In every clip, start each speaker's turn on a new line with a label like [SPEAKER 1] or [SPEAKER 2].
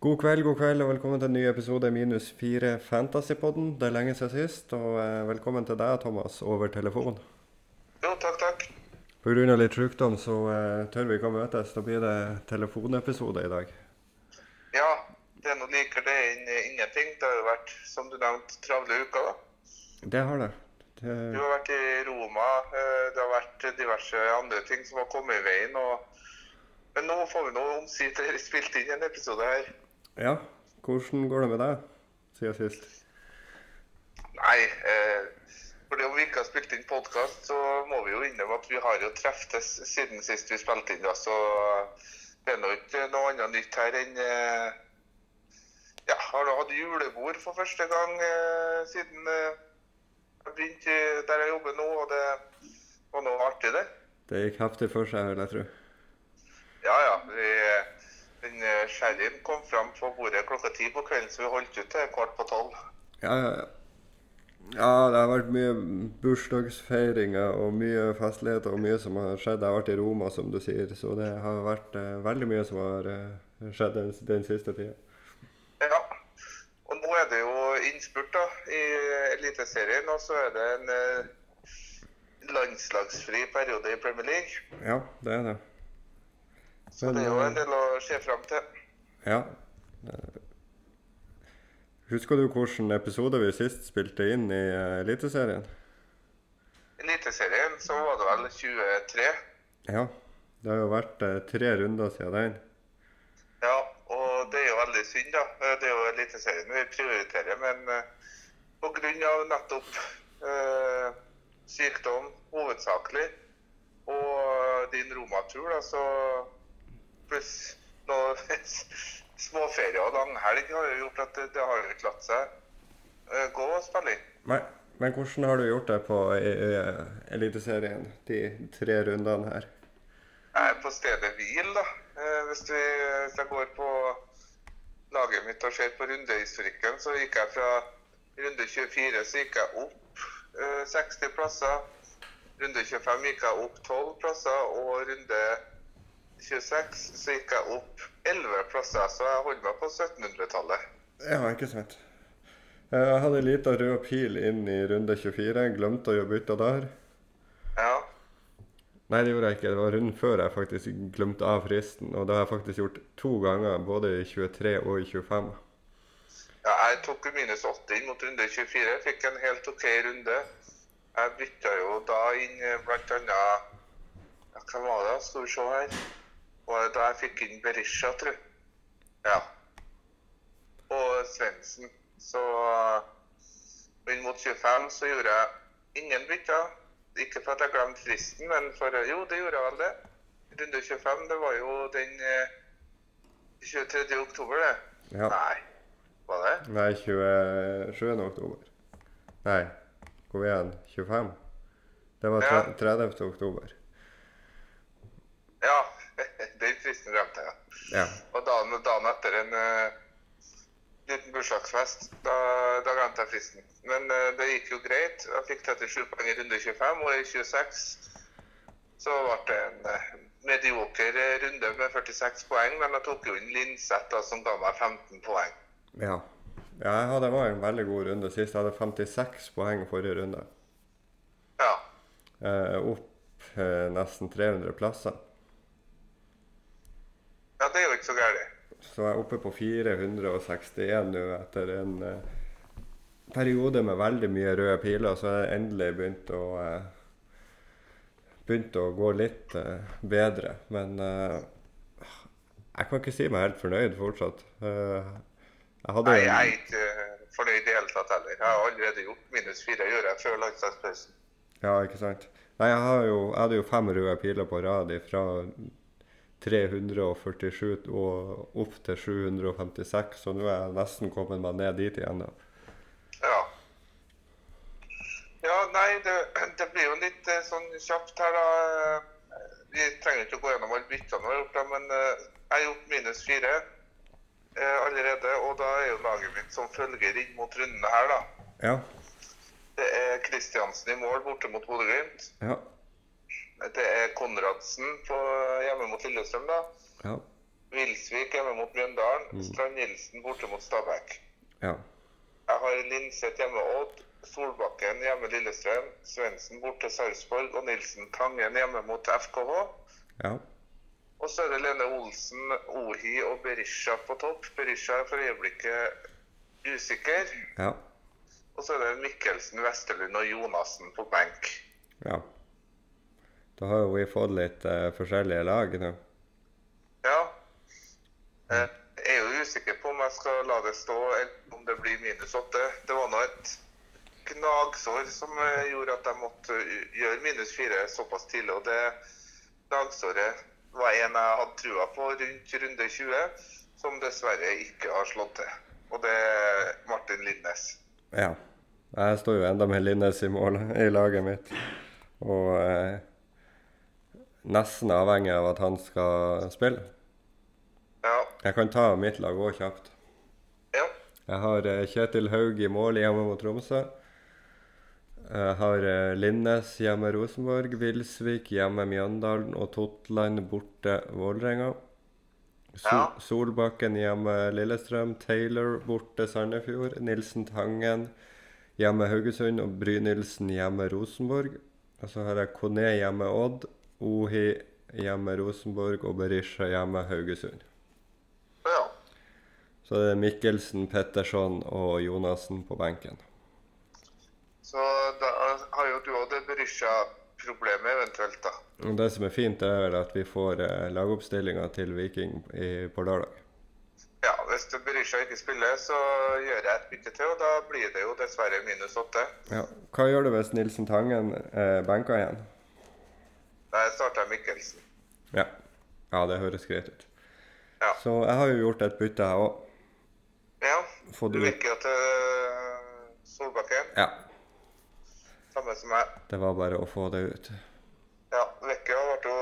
[SPEAKER 1] God kveld, god kveld, og velkommen til en ny episode minus fire Fantasypodden. Det er lenge siden sist, og eh, velkommen til deg, Thomas, over telefon.
[SPEAKER 2] Jo, takk, takk.
[SPEAKER 1] Pga. litt sykdom så eh, tør vi ikke å møtes. Da blir det telefonepisode i dag.
[SPEAKER 2] Ja, det er noe liker det enn eh, ingenting. Det har jo vært, som du nevnte, travle uker, da.
[SPEAKER 1] Det har det. det
[SPEAKER 2] Du har vært i Roma, eh, det har vært diverse andre ting som har kommet i veien. Og... Men nå får vi nå omsider spilt inn en episode her.
[SPEAKER 1] ja, hvordan går det med deg siden sist?
[SPEAKER 2] Nei, eh, fordi om vi ikke har spilt inn podkast, så må vi jo innrømme at vi har jo treftes siden sist vi spilte inn, da. Så det er nå ikke noe annet nytt her enn eh, Ja, har nå hatt julebord for første gang eh, siden eh, jeg begynte der jeg jobber nå, og det var noe artig, det.
[SPEAKER 1] Det gikk heftig for seg, vil jeg tro.
[SPEAKER 2] Ja, ja. Vi, den eh, sherryen kom fram på bordet klokka ti på kvelden, så vi holdt ut til kvart på tolv.
[SPEAKER 1] Ja, ja, ja. Ja, det har vært mye bursdagsfeiringer og mye festligheter og mye som har skjedd. Jeg har vært i Roma, som du sier, så det har vært eh, veldig mye som har eh, skjedd den, den siste tida.
[SPEAKER 2] Ja. Og nå er det jo innspurt da, i Eliteserien, og så er det en eh, landslagsfri periode i Premier League.
[SPEAKER 1] Ja, det er det.
[SPEAKER 2] Så det er jo en del å se fram til.
[SPEAKER 1] Ja. Eh, Husker du hvilken episode vi sist spilte inn i eh, Eliteserien?
[SPEAKER 2] I Eliteserien så var det vel 23.
[SPEAKER 1] Ja. Det har jo vært eh, tre runder siden den.
[SPEAKER 2] Ja, og det er jo veldig synd, da. Eh, Det er jo Eliteserien vi prioriterer, men eh, på grunn av nettopp eh, sykdom hovedsakelig og eh, din Roma-tur, da, så pluss noen småferier og langhelg har jo gjort at det, det har jo ikke latt seg eh, gå å spille inn.
[SPEAKER 1] Nei. Men hvordan har du gjort det på eh, Eliteserien, de tre rundene her?
[SPEAKER 2] Jeg er på stedet hvil, da. Eh, Hvis, vi, hvis jeg går på laget mitt og ser på rundehistorikken, så gikk jeg fra runde 24 så gikk jeg opp eh, 60 plasser. Runde 25 gikk jeg opp 12 plasser, og runde 26 så gikk jeg opp 11 plasser. Så jeg holder meg på 1700-tallet.
[SPEAKER 1] Ja, ikke sant. Jeg hadde lita rød pil inn i runde 24. Glemte å gjøre bytter der.
[SPEAKER 2] Ja.
[SPEAKER 1] Nei, det gjorde jeg ikke. Det var runden før jeg faktisk glemte av fristen. Og det har jeg faktisk gjort to ganger, både i 23 og i 25.
[SPEAKER 2] Ja, jeg tok jo minus 80 inn mot runde 24. Fikk en helt OK runde. Jeg bytta jo da inn eh, blant annet ja, Hvem var det? Skal vi se her. Og da jeg fikk inn Berisha, tror jeg. Ja. Og Svendsen. Så eh, inn mot 25 så gjorde jeg ingen bytter. Ikke for at jeg glemte fristen, men for Jo, det gjorde jeg vel det. Runde 25, det var jo den eh, 23. oktober, det.
[SPEAKER 1] Ja.
[SPEAKER 2] Nei, var det?
[SPEAKER 1] Nei, 27. oktober. Nei, hvor er den? 25? Det var
[SPEAKER 2] Ja.
[SPEAKER 1] tre- 30. oktober.
[SPEAKER 2] Ja, den fristen glemte jeg.
[SPEAKER 1] Ja.
[SPEAKER 2] Og dagen, dagen etter en eh, liten bursdagsfest, da, da glemte jeg fristen. Men eh, det gikk jo greit. Jeg fikk 37 poeng i runde 25, og i 26 så ble det en eh, medioker eh, runde med 46 poeng, men jeg tok jo inn Linseth, da, som ga meg 15 poeng.
[SPEAKER 1] ja. Ja, jeg hadde det var en veldig god runde sist. Jeg hadde 56 poeng forrige runde.
[SPEAKER 2] Ja.
[SPEAKER 1] Eh, opp eh, nesten 300 plasser.
[SPEAKER 2] ja, det er jo ikke så gærent.
[SPEAKER 1] Så jeg er oppe på 461 nå etter en eh, periode med veldig mye røde piler, så jeg har endelig begynt å eh, begynt å gå litt eh, bedre. Men eh, jeg kan ikke si meg helt fornøyd fortsatt. Eh, jeg hadde
[SPEAKER 2] Nei, jeg er ikke eh, fornøyd i det hele tatt heller. Jeg har allerede gjort minus fire, gjør jeg før landslagspausen.
[SPEAKER 1] Ja, ikke sant. Nei, jeg, har jo, jeg hadde jo fem røde piler på rad fra 347 og opp til 756, så nå er jeg nesten kommet meg ned dit igjen. da.
[SPEAKER 2] Ja. Ja, nei, det, det blir jo litt eh, sånn kjapt her, da. Eh, Vi trenger ikke å gå gjennom alle byttene vi har gjort, da, men eh, jeg har gjort minus fire eh, allerede. Og da er jo laget mitt som følger inn mot rundene her, da.
[SPEAKER 1] Ja,
[SPEAKER 2] Det er Kristiansen i mål borte mot Bodø-Glimt.
[SPEAKER 1] ja,
[SPEAKER 2] Det er Konradsen på, hjemme mot Lillestrøm, da.
[SPEAKER 1] ja.
[SPEAKER 2] Vilsvik hjemme mot Mjøndalen. Strand-Nilsen borte mot Stabæk.
[SPEAKER 1] Ja.
[SPEAKER 2] Jeg har Linseth hjemme Odd, Solbakken hjemme Lillestrøm, Svendsen borte Sarpsborg og Nilsen Tangen hjemme mot FKH.
[SPEAKER 1] Ja.
[SPEAKER 2] Og så er det Lene Olsen, Ohi og Berisha på topp. Berisha er for øyeblikket usikker.
[SPEAKER 1] Ja.
[SPEAKER 2] Og så er det Mikkelsen, Westerlund og Jonassen på benk.
[SPEAKER 1] ja. Da har jo vi fått litt eh, forskjellige lag nå.
[SPEAKER 2] Ja. Eh, Jeg er jo usikker på om jeg skal la det stå, eller om det blir minus åtte. Det var nå et gnagsår som eh, gjorde at jeg måtte u- gjøre minus fire såpass tidlig. Og det gnagsåret var en jeg hadde trua på rundt runde 20, som dessverre ikke har slått til. Og det er Martin Lindnes.
[SPEAKER 1] Ja. Jeg står jo enda med Linnes i mål i laget mitt. Og eh, nesten avhengig av at han skal spille.
[SPEAKER 2] Ja.
[SPEAKER 1] Jeg kan ta mitt lag òg kjapt.
[SPEAKER 2] ja.
[SPEAKER 1] Jeg har eh, Kjetil Haug i mål hjemme mot Tromsø. Jeg har eh, Linnes hjemme Rosenborg, Vilsvik hjemme Mjøndalen og Totland borte Vålerenga. So
[SPEAKER 2] Ja.
[SPEAKER 1] Solbakken hjemme Lillestrøm, Taylor borte Sandefjord, Nilsen Tangen hjemme Haugesund og Brynildsen hjemme Rosenborg. Og så har jeg Kone hjemme Odd, Ohi hjemme Rosenborg og Berisha hjemme Haugesund.
[SPEAKER 2] ja.
[SPEAKER 1] Så det er Mikkelsen, Petterson og Jonassen på benken.
[SPEAKER 2] Så da har jo du òg det Berisha-problemet eventuelt, da.
[SPEAKER 1] Og det som er fint, er vel at vi får eh, lagoppstillinga til Viking i, på lørdag.
[SPEAKER 2] Ja, hvis det Berisha ikke spiller, så gjør jeg et bytte til, og da blir det jo dessverre minus åtte.
[SPEAKER 1] Ja. Hva gjør du hvis Nilsen Tangen eh, benker igjen?
[SPEAKER 2] Da starter jeg Mikkelsen.
[SPEAKER 1] Ja. ja, det høres greit ut.
[SPEAKER 2] Ja.
[SPEAKER 1] Så jeg har jo gjort et bytte, jeg òg.
[SPEAKER 2] Ja,
[SPEAKER 1] Får
[SPEAKER 2] du
[SPEAKER 1] du-
[SPEAKER 2] vekker jo til eh, Solbakken,
[SPEAKER 1] Ja.
[SPEAKER 2] samme som meg.
[SPEAKER 1] Det var bare å få det ut.
[SPEAKER 2] Ja, vekker jo ble jo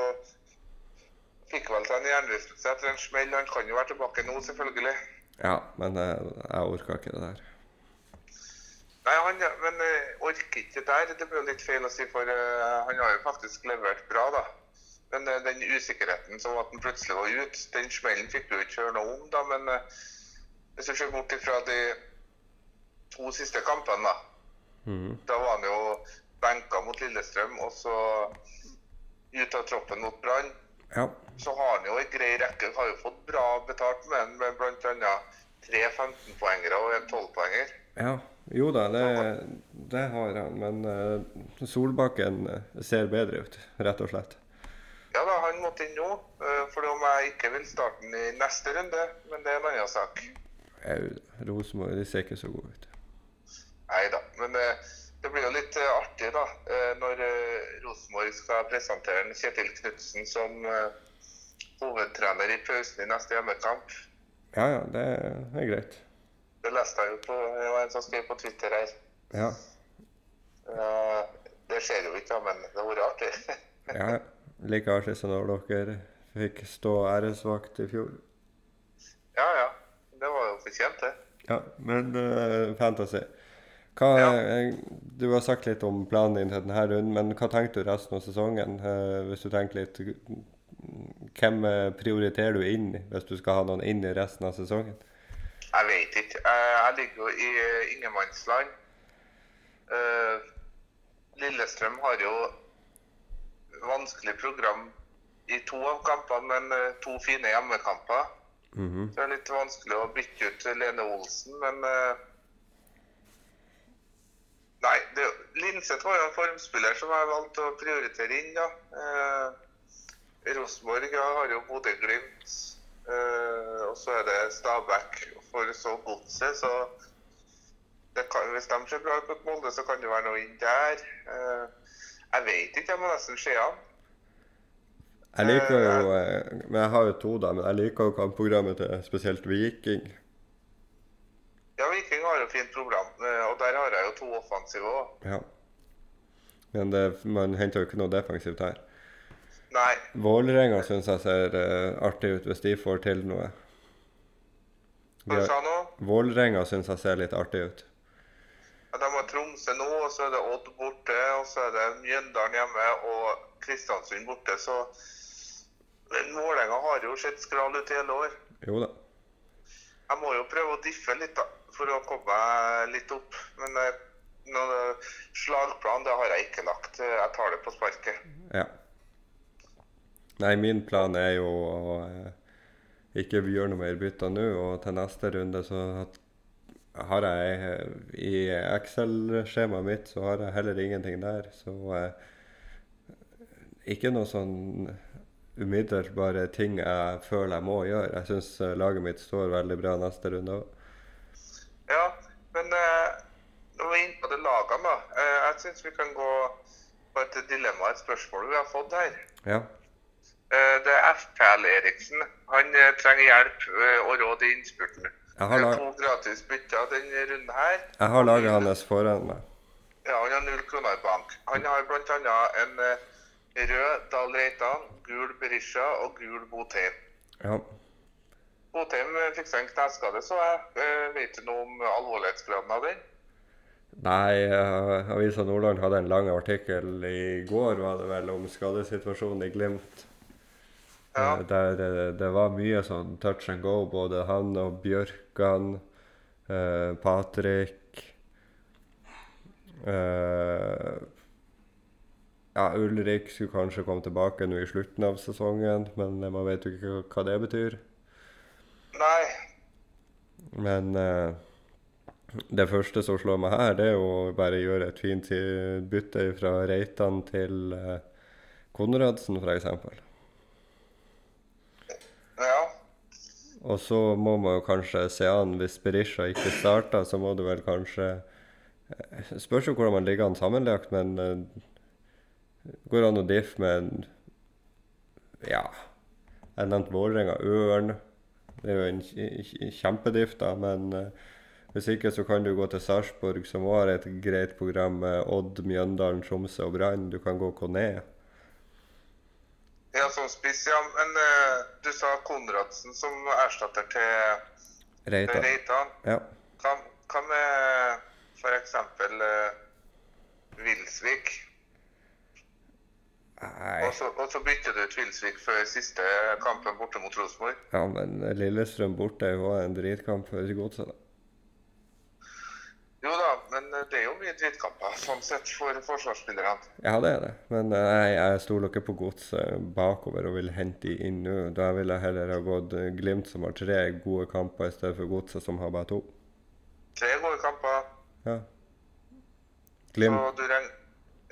[SPEAKER 2] Fikk vel seg en hjernerystelse etter en smell. Han kan jo være tilbake nå, selvfølgelig.
[SPEAKER 1] Ja, men eh, jeg orka ikke det der.
[SPEAKER 2] Nei, han, men eh, orker ikke der. Det blir jo litt feil å si, for eh, han har jo faktisk levert bra, da. Men eh, den usikkerheten som at han plutselig var ute, den smellen fikk du jo ikke høre noe om, da. Men eh, hvis du ser bort ifra de to siste kampene, da. Da var han jo benka mot Lillestrøm, og så ut av troppen mot Brann
[SPEAKER 1] Ja.
[SPEAKER 2] så har han jo en grei rekke. Har jo fått bra betalt med han, med bl.a. tre 15-poengere og en 12-poenger.
[SPEAKER 1] ja. Jo da, det, det har han. Men eh, Solbakken eh, ser bedre ut, rett og slett.
[SPEAKER 2] Ja da, han måtte inn nå. eh, For om jeg ikke vil starte den i neste runde, men det er en annen sak.
[SPEAKER 1] Au, Rosenborg de ser ikke så gode ut.
[SPEAKER 2] Nei da. Men eh, det blir jo litt eh, artig, da, eh, når eh, Rosenborg skal presentere en Kjetil Knutsen som eh, hovedtrener i pausen i neste hjemmekamp.
[SPEAKER 1] Ja, ja, det er greit.
[SPEAKER 2] Det leste jeg jo på Det var en som skrev på Twitter her.
[SPEAKER 1] Ja,
[SPEAKER 2] Eh, Det skjer jo ikke, da, men det har vært artig.
[SPEAKER 1] ja. Like artig som når dere fikk stå æresvakt i fjor.
[SPEAKER 2] Ja ja. Det var jo fortjent, det.
[SPEAKER 1] Ja, men eh, fantasy. Hva, eh, Du har sagt litt om planen din til denne runden, men hva tenkte du resten av sesongen? Eh, hvis du tenker litt Hvem eh, prioriterer du inn i, hvis du skal ha noen inn i resten av sesongen?
[SPEAKER 2] Jeg vet ikke. Jeg, jeg ligger jo i eh, ingenmannsland. Eh, Lillestrøm har jo vanskelig program i to av kampene, men eh, to fine hjemmekamper. Så det er litt vanskelig å bytte ut Lene Olsen, men eh, Nei, det, Linseth var jo en formspiller som jeg valgte å prioritere inn, da. Eh, Rosenborg ja, har jo Bodø-Glimt. eh, og så er det Stabæk for så Godset, så det kan, hvis de ser bra ut mot Molde, så kan det være noe inn der. Eh, jeg vet ikke, jeg må nesten se an.
[SPEAKER 1] Jeg liker jo eh, Men jeg har jo to, da. Men jeg liker jo kampprogrammet til spesielt Viking.
[SPEAKER 2] Ja, Viking har jo fint program, eh, og der har jeg jo to offensive òg.
[SPEAKER 1] Ja. Men det, man henter jo ikke noe defensivt her.
[SPEAKER 2] Nei,
[SPEAKER 1] Vålerenga syns jeg ser eh, artig ut hvis de får til noe. De
[SPEAKER 2] hva
[SPEAKER 1] har-
[SPEAKER 2] sa du nå?
[SPEAKER 1] Vålerenga syns jeg ser litt artig ut.
[SPEAKER 2] Ja, de har Tromsø nå, og så er det Odd borte, og så er det Mjøndalen hjemme og Kristiansund borte. Så Men Vålerenga har jo sett skral ut hele år.
[SPEAKER 1] Jo da.
[SPEAKER 2] Jeg må jo prøve å diffe litt, da, for å komme meg litt opp. Men eh, noen eh, slagplan det har jeg ikke lagt. Jeg tar det på sparket.
[SPEAKER 1] Ja. Nei, min plan er jo å eh, ikke gjøre noe mer bytter nå, og til neste runde så at- har jeg eh, I Excel-skjemaet mitt så har jeg heller ingenting der, så eh, Ikke noe sånn umiddelbare ting jeg føler jeg må gjøre. Jeg syns laget mitt står veldig bra neste runde òg.
[SPEAKER 2] Ja, men eh, når vi er inne på det lagene, da. eh, jeg syns vi kan gå på et dilemma, et spørsmål vi har fått her.
[SPEAKER 1] Ja.
[SPEAKER 2] Eh, det er FPL Eriksen. Han eh, trenger hjelp eh, og råd i innspurten.
[SPEAKER 1] Jeg har,
[SPEAKER 2] Det er
[SPEAKER 1] lag,
[SPEAKER 2] To gratis bytter denne runden her.
[SPEAKER 1] jeg har laget hans foran meg.
[SPEAKER 2] Ja, han har null kroner i bank. Han har bl.a. en eh, rød Dahl Reitan, gul Berisha og gul Botheim.
[SPEAKER 1] Ja.
[SPEAKER 2] Botheim eh, fikk seg en kneskade, så jeg eh, vet du noe om alvorlighetsgraden av den?
[SPEAKER 1] Nei, eh, Avisa Nordland hadde en lang artikkel i går var det vel, om skadesituasjonen i Glimt.
[SPEAKER 2] Ja.
[SPEAKER 1] Eh, Der eh, det var mye sånn touch and go, både han og Bjørkan, eh, Patrick eh, Ja, Ulrik skulle kanskje komme tilbake nå i slutten av sesongen, men man vet jo ikke hva det betyr.
[SPEAKER 2] Nei.
[SPEAKER 1] Men eh, det første som slår meg her, det er jo bare gjøre et fint i- bytte fra Reitan til eh, Konradsen, f.eks.
[SPEAKER 2] Ja.
[SPEAKER 1] Og så må man jo kanskje se an hvis Berisha ikke starter, så må du vel kanskje eh, Spørs jo hvordan man ligger an sammenlagt, men eh, går det an å diffe med en Ja. Jeg nevnte Vålerenga, Ørn. Det er jo en kj- kj- kjempediff, da, men eh, hvis ikke så kan du gå til Sarpsborg, som har et greit program med Odd, Mjøndalen, Tromsø og Brann. Du kan gå Kone.
[SPEAKER 2] Ja, som sånn spiss, ja. Men eh, du sa Konradsen som erstatter til til
[SPEAKER 1] Reitan.
[SPEAKER 2] Reitan.
[SPEAKER 1] Ja.
[SPEAKER 2] Hva, hva med f.eks. Uh, Wilsvik?
[SPEAKER 1] Nei.
[SPEAKER 2] Og så og så bytter du ut Wilsvik før siste kampen borte mot Rosenborg?
[SPEAKER 1] Ja, men Lillestrøm borte er jo også en dritkamp for Godset. da.
[SPEAKER 2] Jo da, men eh, det er jo mye drittkamper sånn sett for forsvarsspillerne.
[SPEAKER 1] Ja, det er det. Men eh, nei, jeg stoler ikke på godset bakover og vil hente de inn nå. Da ville jeg heller ha gått eh, Glimt, som har tre gode kamper, i stedet for godset, som har bare to.
[SPEAKER 2] Tre gode kamper,
[SPEAKER 1] Ja.
[SPEAKER 2] så
[SPEAKER 1] Glimt
[SPEAKER 2] du regn-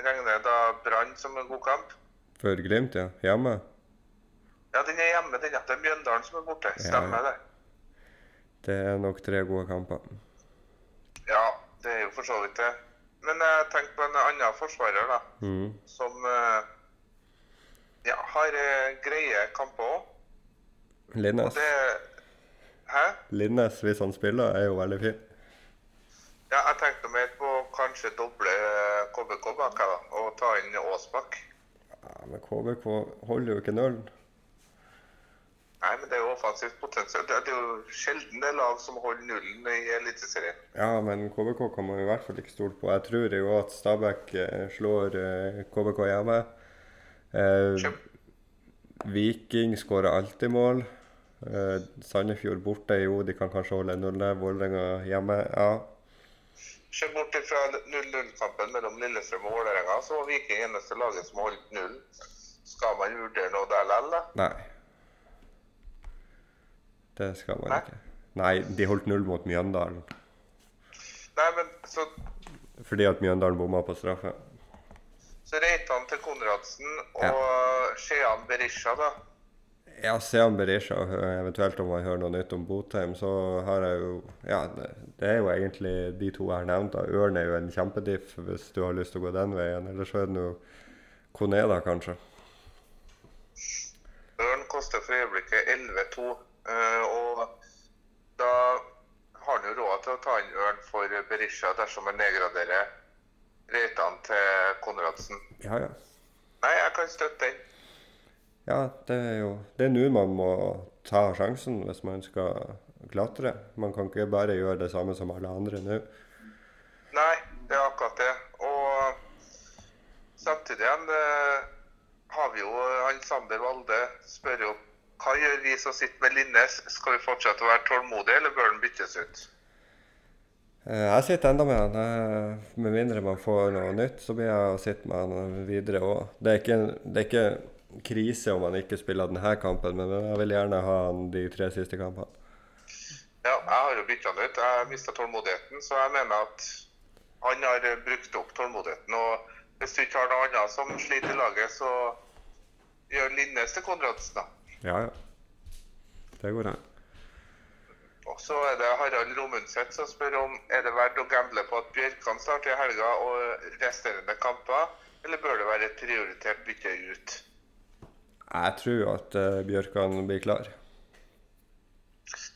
[SPEAKER 2] regner da Brann som en god kamp?
[SPEAKER 1] for Glimt, ja. Hjemme.
[SPEAKER 2] Ja, den er hjemme, den. ja. Det er Mjøndalen som er borte. Stemmer det?
[SPEAKER 1] Det er nok tre gode kamper.
[SPEAKER 2] Ja, det er jo for så vidt det. Men jeg tenker på en annen forsvarer, da.
[SPEAKER 1] Mhm.
[SPEAKER 2] Som eh, ja, har eh, greie kamper òg.
[SPEAKER 1] Linnes.
[SPEAKER 2] Det Hæ?
[SPEAKER 1] Linnes, hvis han spiller, er jo veldig fin.
[SPEAKER 2] Ja, jeg tenkte mer på kanskje doble eh, KBK bak her, da. Og ta inn Aasbakk.
[SPEAKER 1] Ja, men KBK holder jo ikke nullen.
[SPEAKER 2] Nei, men det er jo offensivt potensial. Det det er jo sjelden det er lag som holder nullen i Eliteserien.
[SPEAKER 1] Ja, men KBK kan man i hvert fall ikke stole på. Jeg tror jo at Stabæk eh, slår eh, KBK hjemme. Eh,
[SPEAKER 2] Kjem-
[SPEAKER 1] Viking skårer alltid mål. Eh, Sandefjord borte, jo, de kan kanskje holde 0. Vålerenga hjemme, ja.
[SPEAKER 2] Se bort fra 0-0-kampen mellom Lillestrøm og Vålerenga, så var Viking eneste laget som holdt nullen. Skal man vurdere noe der likevel, da?
[SPEAKER 1] Nei. Det skal man
[SPEAKER 2] Hæ?
[SPEAKER 1] ikke. Nei, de holdt null mot Mjøndalen.
[SPEAKER 2] Nei, men så,
[SPEAKER 1] Fordi at Mjøndalen bomma på straffe.
[SPEAKER 2] så Reitan til Konradsen og
[SPEAKER 1] Ja.
[SPEAKER 2] Skjean Berisha, da.
[SPEAKER 1] Ja, se om Berisha, og hør- eventuelt om man hører noe nytt om Botheim, så har jeg jo Ja, det det er jo egentlig de to jeg har nevnt. da. Ørn er jo en kjempediff hvis du har lyst til å gå den veien. Ellers så er det jo Koneda, kanskje.
[SPEAKER 2] Ørn koster for øyeblikket 11-2, eh, og da har han jo råd til å ta inn Ørn for Berisha dersom han nedgraderer Reitan til Konradsen.
[SPEAKER 1] Ja, ja.
[SPEAKER 2] Nei, jeg kan støtte den.
[SPEAKER 1] Ja, det er jo Det er nå man må ta sjansen hvis man skal klatre. Man kan ikke bare gjøre det samme som alle andre nå.
[SPEAKER 2] Nei, det er akkurat det. Og samtidig igjen eh, har vi jo han Sander Valde spør jo hva gjør vi som sitter med Linnes? Skal vi fortsette å være tålmodige, eller bør den byttes ut?
[SPEAKER 1] Eh, Jeg sitter enda med han. eh, Med mindre man får noe nytt, så blir jeg å sitte med han videre òg. Det, er ikke- det er ikke krise om han ikke spiller denne kampen, men jeg vil gjerne ha han de tre siste kampene.
[SPEAKER 2] Ja, jeg har jo bytta han ut. Jeg mista tålmodigheten, så jeg mener at han har eh, brukt opp tålmodigheten. Og hvis du ikke har noe annet som sliter i laget, så gjør Linnes til Konradsen, da.
[SPEAKER 1] Ja, ja. Det går an.
[SPEAKER 2] Og så er det Harald Romundset som spør om er det verdt å gamble på at Bjørkan starter i helga og resterende kamper, eller bør det være et prioritert bytte ut?
[SPEAKER 1] Jeg tror at eh, Bjørkan blir klar.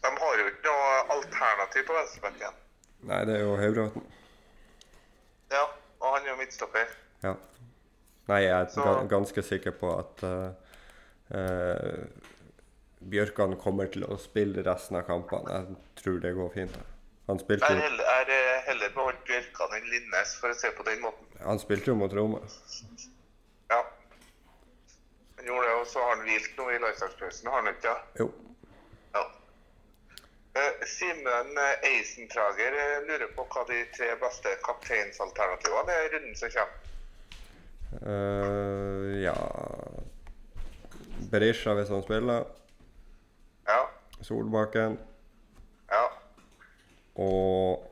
[SPEAKER 2] De har jo ikke noe alternativ på venstrebekken.
[SPEAKER 1] Nei, det er jo Høybråten.
[SPEAKER 2] Ja, og han er jo midtstopper.
[SPEAKER 1] Ja. Nei, jeg er
[SPEAKER 2] Så-
[SPEAKER 1] ga- ganske sikker på at eh, eh, Bjørkan kommer til å spille resten av kampene. Jeg tror det går fint. Han spilte,
[SPEAKER 2] Jeg har
[SPEAKER 1] jo-
[SPEAKER 2] heller, jeg har heller beholdt Bjørkan enn Linnes, for å se på den måten.
[SPEAKER 1] han spilte jo mot Roma.
[SPEAKER 2] Ja. Han gjorde det, og så har han hvilt nå i landslagspausen, har han ikke? det?
[SPEAKER 1] Jo.
[SPEAKER 2] Ja. Eh, Simen eh, Eisentrager eh, lurer på hva de tre beste kapteinsalternativene er i runden som kommer.
[SPEAKER 1] Eh, ja Berisha hvis han spiller.
[SPEAKER 2] Ja,
[SPEAKER 1] Solbakken.
[SPEAKER 2] ja.
[SPEAKER 1] Og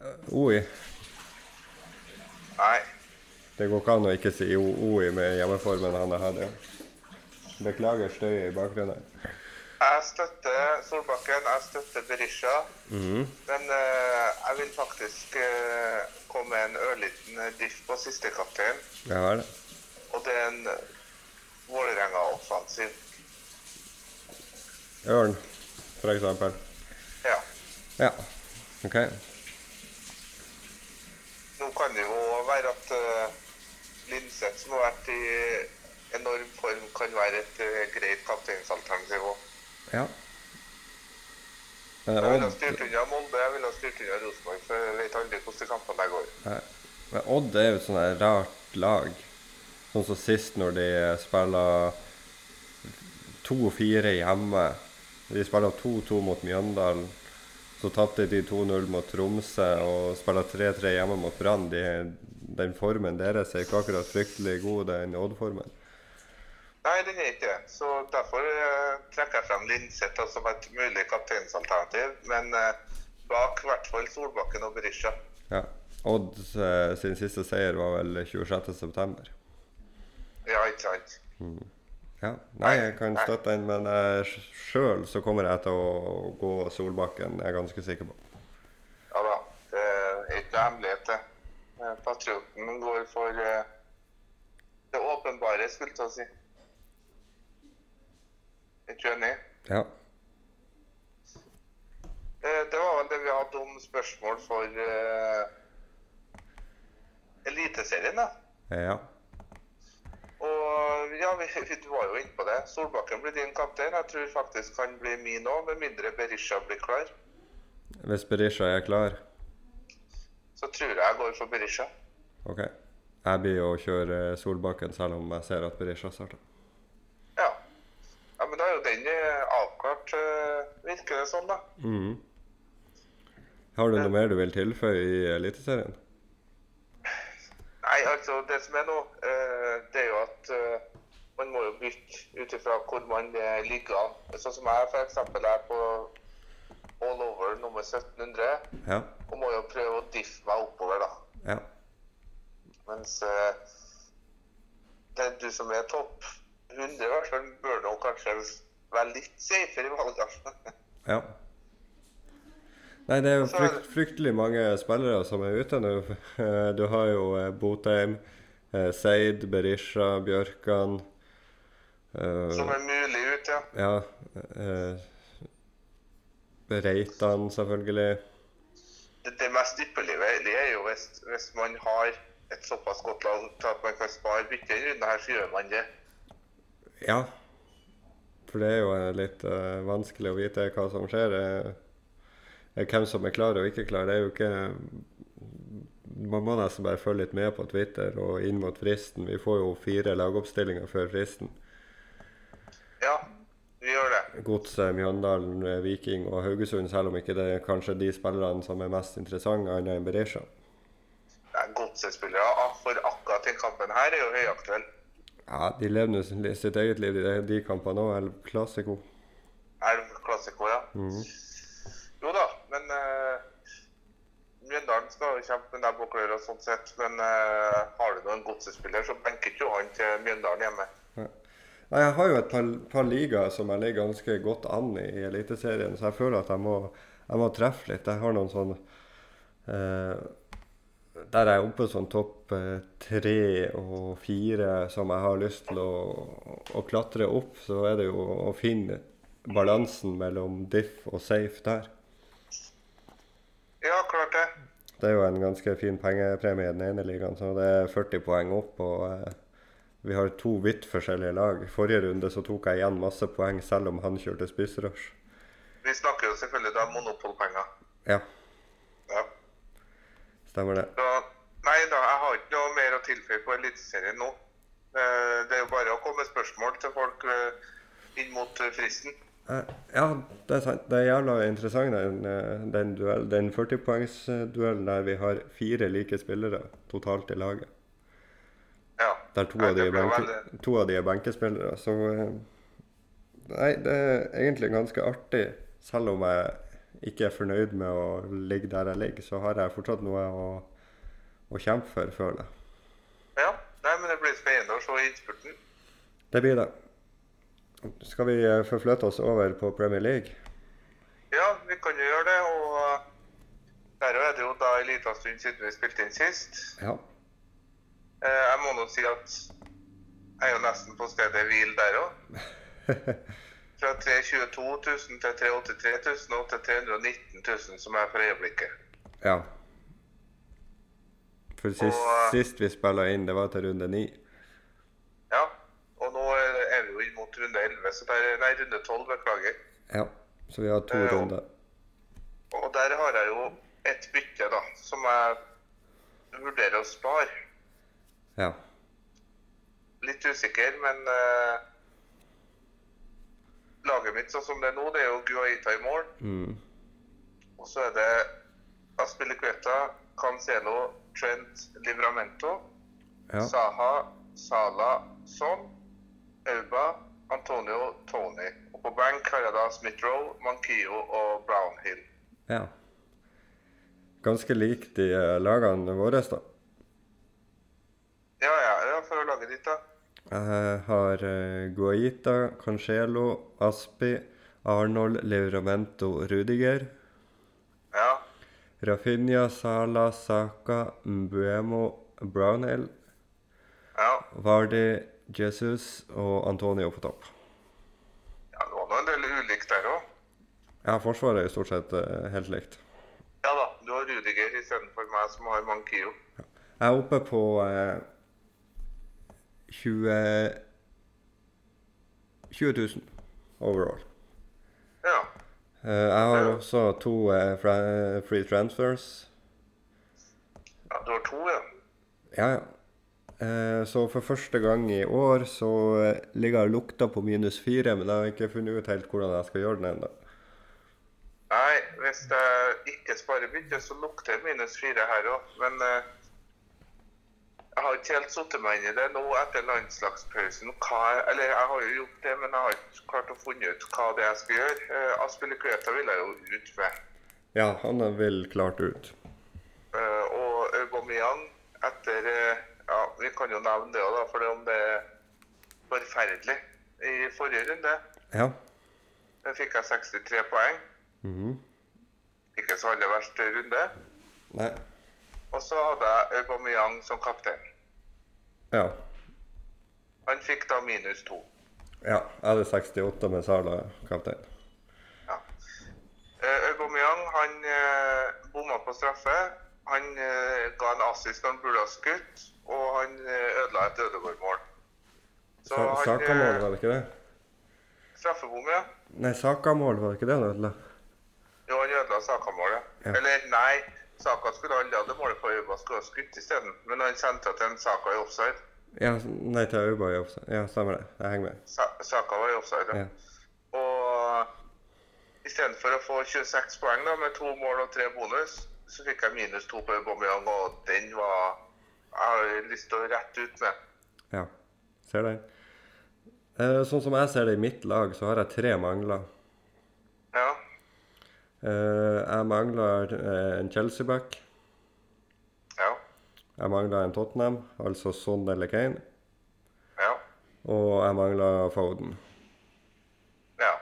[SPEAKER 1] eh, Oi.
[SPEAKER 2] Nei.
[SPEAKER 1] Det går ikke an å ikke si O- Oi med hjemmeformen han har hatt. ja. Beklager støyet i bakgrunnen.
[SPEAKER 2] Jeg støtter Solbakken, jeg støtter Berisha. Men eh, jeg vil faktisk eh, komme med en ørliten eh, diff på siste kaptein.
[SPEAKER 1] Jeg har det.
[SPEAKER 2] Og det er en eh, Vålerenga-offensiv.
[SPEAKER 1] Ørn, for eksempel.
[SPEAKER 2] Ja.
[SPEAKER 1] Ja. OK.
[SPEAKER 2] Nå kan det jo være at uh, Lindseth, som har vært i enorm form, kan være et eh, greit kapteinsalternativ òg.
[SPEAKER 1] Ja. Eh,
[SPEAKER 2] Jeg ville ha
[SPEAKER 1] Odd,
[SPEAKER 2] styrt unna Molde, jeg ville ha styrt unna Rosenborg, for jeg vet aldri hvordan de kampene der går.
[SPEAKER 1] eh, men Odd er jo et sånn her rart lag. Sånn som sist, når de spiller 2-4 hjemme. De spiller 2-2 mot Mjøndalen. Så tapte de 2-0 mot Tromsø og spiller 3-3 hjemme mot Brann. De, den formen deres er ikke akkurat fryktelig god, den Odd-formen.
[SPEAKER 2] Nei, den er ikke det. Så derfor eh, trekker jeg frem Lindseth da, som et mulig kapteinsalternativ, men eh, bak i hvert fall Solbakken og Berisha.
[SPEAKER 1] Ja. Odd eh, sin siste seier var vel 26.9.
[SPEAKER 2] Ja, ikke sant?
[SPEAKER 1] Ja, nei, jeg kan støtte den, men eh, sjøl så kommer jeg til å gå Solbakken, jeg er ganske sikker på.
[SPEAKER 2] Ja da. Det er ikke noe hemmelighet, det. Eh, Patrioten går for eh, det åpenbare, skulle jeg til å si. Er ikke du enig?
[SPEAKER 1] Ja.
[SPEAKER 2] Eh, Det var vel det vi hadde om spørsmål for eh, Eliteserien, da.
[SPEAKER 1] Eh, ja.
[SPEAKER 2] Og ja, vi, vi var jo inne på det. Solbakken blir din kaptein. Jeg tror faktisk han blir min òg, med mindre Berisha blir klar.
[SPEAKER 1] Hvis Berisha er klar,
[SPEAKER 2] Så tror jeg jeg går for Berisha.
[SPEAKER 1] OK. Jeg blir å kjøre Solbakken, selv om jeg ser at Berisha starter.
[SPEAKER 2] Ja. ja, men da er jo den eh, avklart, eh, virker det sånn, da.
[SPEAKER 1] Har du noe mer du vil tilføye i Eliteserien?
[SPEAKER 2] Nei, altså, det som er nå, eh, det er jo at eh, man må jo bytte ut ifra hvor man eh, ligger an. Sånn som jeg for eksempel er på all over nummer 1700,
[SPEAKER 1] Ja.
[SPEAKER 2] og må jo prøve å diffe meg oppover, da.
[SPEAKER 1] Ja.
[SPEAKER 2] Mens eh, det er du som er topp 100, i hvert fall bør nå kanskje være litt safere i valgene.
[SPEAKER 1] Ja. Nei, det er jo
[SPEAKER 2] Så er det-
[SPEAKER 1] frykt, fryktelig mange spillere som er ute nå. Eh, Du har jo eh, Botheim, eh, Seid, Berisha, Bjørkan eh,
[SPEAKER 2] som er mulig ut, ja.
[SPEAKER 1] Ja. eh, Reitan, selvfølgelig.
[SPEAKER 2] det, det mest ypperlige det er jo hvis, hvis man har et såpass godt lag til at man kan spare bytte i en runde her, så gjør man det.
[SPEAKER 1] Ja. For det er jo eh, litt eh, vanskelig å vite hva som skjer. eh, eh, hvem som er klar og ikke klar. Det er jo ikke man må nesten bare følge litt med på Twitter og inn mot fristen. Vi får jo fire lagoppstillinger før fristen.
[SPEAKER 2] Ja, vi gjør det.
[SPEAKER 1] Godset, Mjøndalen, eh, Viking og Haugesund, selv om ikke det er kanskje de spillerne som er mest interessante, annet enn Berisha.
[SPEAKER 2] Det er Godset-spillere. ah, For akkurat den kampen her er jo høyaktuell.
[SPEAKER 1] Ja, de lever nå sin- sitt eget liv, de, de kampene òg. El Clasico.
[SPEAKER 2] Elv Classico, ja. Jo da, men eh, Mjøndalen skal jo kjempe med nebb og klør og sånn sett. Men eh, har du noen Godset-spiller, så benker ikke han til Mjøndalen hjemme.
[SPEAKER 1] Nei, Jeg har jo et par, par ligaer som jeg ligger ganske godt an i i Eliteserien, så jeg føler at jeg må, jeg må treffe litt. Jeg har noen sånn eh, Der jeg er oppe sånn topp eh, tre og fire som jeg har lyst til å, å klatre opp, så er det jo å finne balansen mellom diff og safe der.
[SPEAKER 2] Ja, klart det.
[SPEAKER 1] Det er jo en ganske fin pengepremie i den ene ligaen, så det er 40 poeng opp. og eh, Vi har to vidt forskjellige lag. Forrige runde så tok jeg igjen masse poeng, selv om han kjørte spissrush.
[SPEAKER 2] Vi snakker jo selvfølgelig da om monopolpenger.
[SPEAKER 1] Ja,
[SPEAKER 2] Ja.
[SPEAKER 1] stemmer det.
[SPEAKER 2] Så, nei da, jeg har ikke noe mer å tilføye på Eliteserien nå. Eh, det er jo bare å komme med spørsmål til folk eh, inn mot eh, fristen.
[SPEAKER 1] Eh, Ja, det er sant. Det er jævla interessant, den, eh, den, duell, den 40-poengsduellen der vi har fire like spillere totalt i laget.
[SPEAKER 2] Ja.
[SPEAKER 1] Der to
[SPEAKER 2] Nei,
[SPEAKER 1] av, de
[SPEAKER 2] det
[SPEAKER 1] er
[SPEAKER 2] ble
[SPEAKER 1] benke, to av de er benkespillere. Så eh, Nei, det er egentlig ganske artig. Selv om jeg ikke er fornøyd med å ligge der jeg ligger, så har jeg fortsatt noe å, å kjempe for, føler jeg.
[SPEAKER 2] Ja, nei, men det blir spennende å se i innspurten.
[SPEAKER 1] Det blir det. Skal vi eh, forflytte oss over på Premier League?
[SPEAKER 2] Ja, vi kan jo gjøre det, og eh, der er det jo da en liten stund siden vi spilte inn sist.
[SPEAKER 1] Ja.
[SPEAKER 2] Eh, jeg må nå si at jeg er jo nesten på stedet hvil der òg. Fra 322 000 til 383 000 og til 319 000 som er for øyeblikket.
[SPEAKER 1] ja. For sist,
[SPEAKER 2] Og, eh,
[SPEAKER 1] sist vi spilla inn, det var til runde ni.
[SPEAKER 2] Ja, og nå er er vi jo inn mot runde 11, så der, nei, runde 12, beklager.
[SPEAKER 1] Ja. Så vi har to
[SPEAKER 2] Eh, og-
[SPEAKER 1] runder.
[SPEAKER 2] Og der har jeg jo et bytte, da, som jeg vurderer å spare.
[SPEAKER 1] Ja.
[SPEAKER 2] Litt usikker, men eh, laget mitt sånn som det er nå, det er jo Guaita i mål.
[SPEAKER 1] Mm.
[SPEAKER 2] Og så er det Aspilicueta, Cancelo, Trent, Livramento,
[SPEAKER 1] ja.
[SPEAKER 2] Saha, Sala, Son, Auba, Antonio, Tony. Og på bank har jeg da Smith-Roe, Mankio og Brownhill.
[SPEAKER 1] Ja. Ganske likt de eh, lagene våre, da.
[SPEAKER 2] Ja, ja, ja, for å lage ditt, da.
[SPEAKER 1] Jeg har eh, Guaita, Cancelo, Aspi, Arnold, Livramento, Rudiger,
[SPEAKER 2] Ja.
[SPEAKER 1] Rafinha, Sala, Saka, Mbuemo, Brownhill,
[SPEAKER 2] ja.
[SPEAKER 1] Vardi, Jesus og Antonio på topp.
[SPEAKER 2] ja det var nå en del ulikt der òg.
[SPEAKER 1] Ja, forsvaret er jo stort sett eh, helt likt.
[SPEAKER 2] Ja da, du har Rudiger istedenfor meg, som har Mankio.
[SPEAKER 1] Jeg er oppe på eh, 20 20 000 overall.
[SPEAKER 2] Ja.
[SPEAKER 1] Eh, Jeg har
[SPEAKER 2] Ja.
[SPEAKER 1] også to eh, fra- free transfers.
[SPEAKER 2] ja. Du har to, ja.
[SPEAKER 1] Ja, ja. Eh, Så for første gang i år så eh, ligger jeg og lukter på minus fire, men jeg har ikke funnet ut helt hvordan jeg skal gjøre den ennå.
[SPEAKER 2] Nei, hvis jeg ikke sparer bytte, så lukter det minus fire her òg. Men eh, jeg har ikke helt satt meg inn i det nå etter landslagspausen. Hva, eller jeg har jo gjort det, men jeg har ikke klart å finne ut hva det er jeg skal gjøre. Uh, Aspilicueta vil jeg jo ut med.
[SPEAKER 1] Ja, han vil klart ut.
[SPEAKER 2] Eh, og Aubameyang etter eh, Ja, vi kan jo nevne det òg, da, for om det er forferdelig. I forrige runde
[SPEAKER 1] Ja.
[SPEAKER 2] eh, fikk jeg 63 poeng.
[SPEAKER 1] Mhm.
[SPEAKER 2] Ikke så aller verst runde.
[SPEAKER 1] Nei.
[SPEAKER 2] Og så hadde jeg Aubameyang som kaptein.
[SPEAKER 1] Ja.
[SPEAKER 2] Han fikk da minus to.
[SPEAKER 1] Ja, jeg hadde 68 med Sala kaptein.
[SPEAKER 2] Ja. Eh, Aubameyang han eh, bomma på straffe. Han eh, ga en assist når han burde ha skutt, og han eh, ødela et Ødegaard-mål. Så
[SPEAKER 1] Sa-
[SPEAKER 2] han
[SPEAKER 1] Saka-mål,
[SPEAKER 2] eh,
[SPEAKER 1] var det ikke det?
[SPEAKER 2] Straffebom, ja.
[SPEAKER 1] Nei, Saka-mål, var det ikke det han ødela?
[SPEAKER 2] Jo, han ødela Saka-målet.
[SPEAKER 1] Ja.
[SPEAKER 2] Eller nei, Saka skulle aldri hatt det målet på Auba, skulle ha skutt isteden. Men han sendte til en Saka i offside.
[SPEAKER 1] Ja, nei, til Auba i offside. Ja, stemmer det. Jeg henger med.
[SPEAKER 2] Sa- Saka var i offside.
[SPEAKER 1] Ja.
[SPEAKER 2] Ja. Og istedenfor å få 26 poeng da, med to mål og tre bonus, så fikk jeg minus to på Aubameyang, og den var Jeg har lyst til å rette ut med.
[SPEAKER 1] Ja. Ser den. Eh, Sånn som jeg ser det i mitt lag, så har jeg tre mangler.
[SPEAKER 2] Ja.
[SPEAKER 1] Eh, Jeg mangler eh, en Chelsea-back.
[SPEAKER 2] Ja.
[SPEAKER 1] Jeg mangler en Tottenham, altså Son eller Kane.
[SPEAKER 2] Ja.
[SPEAKER 1] Og jeg mangler Foden.
[SPEAKER 2] Ja.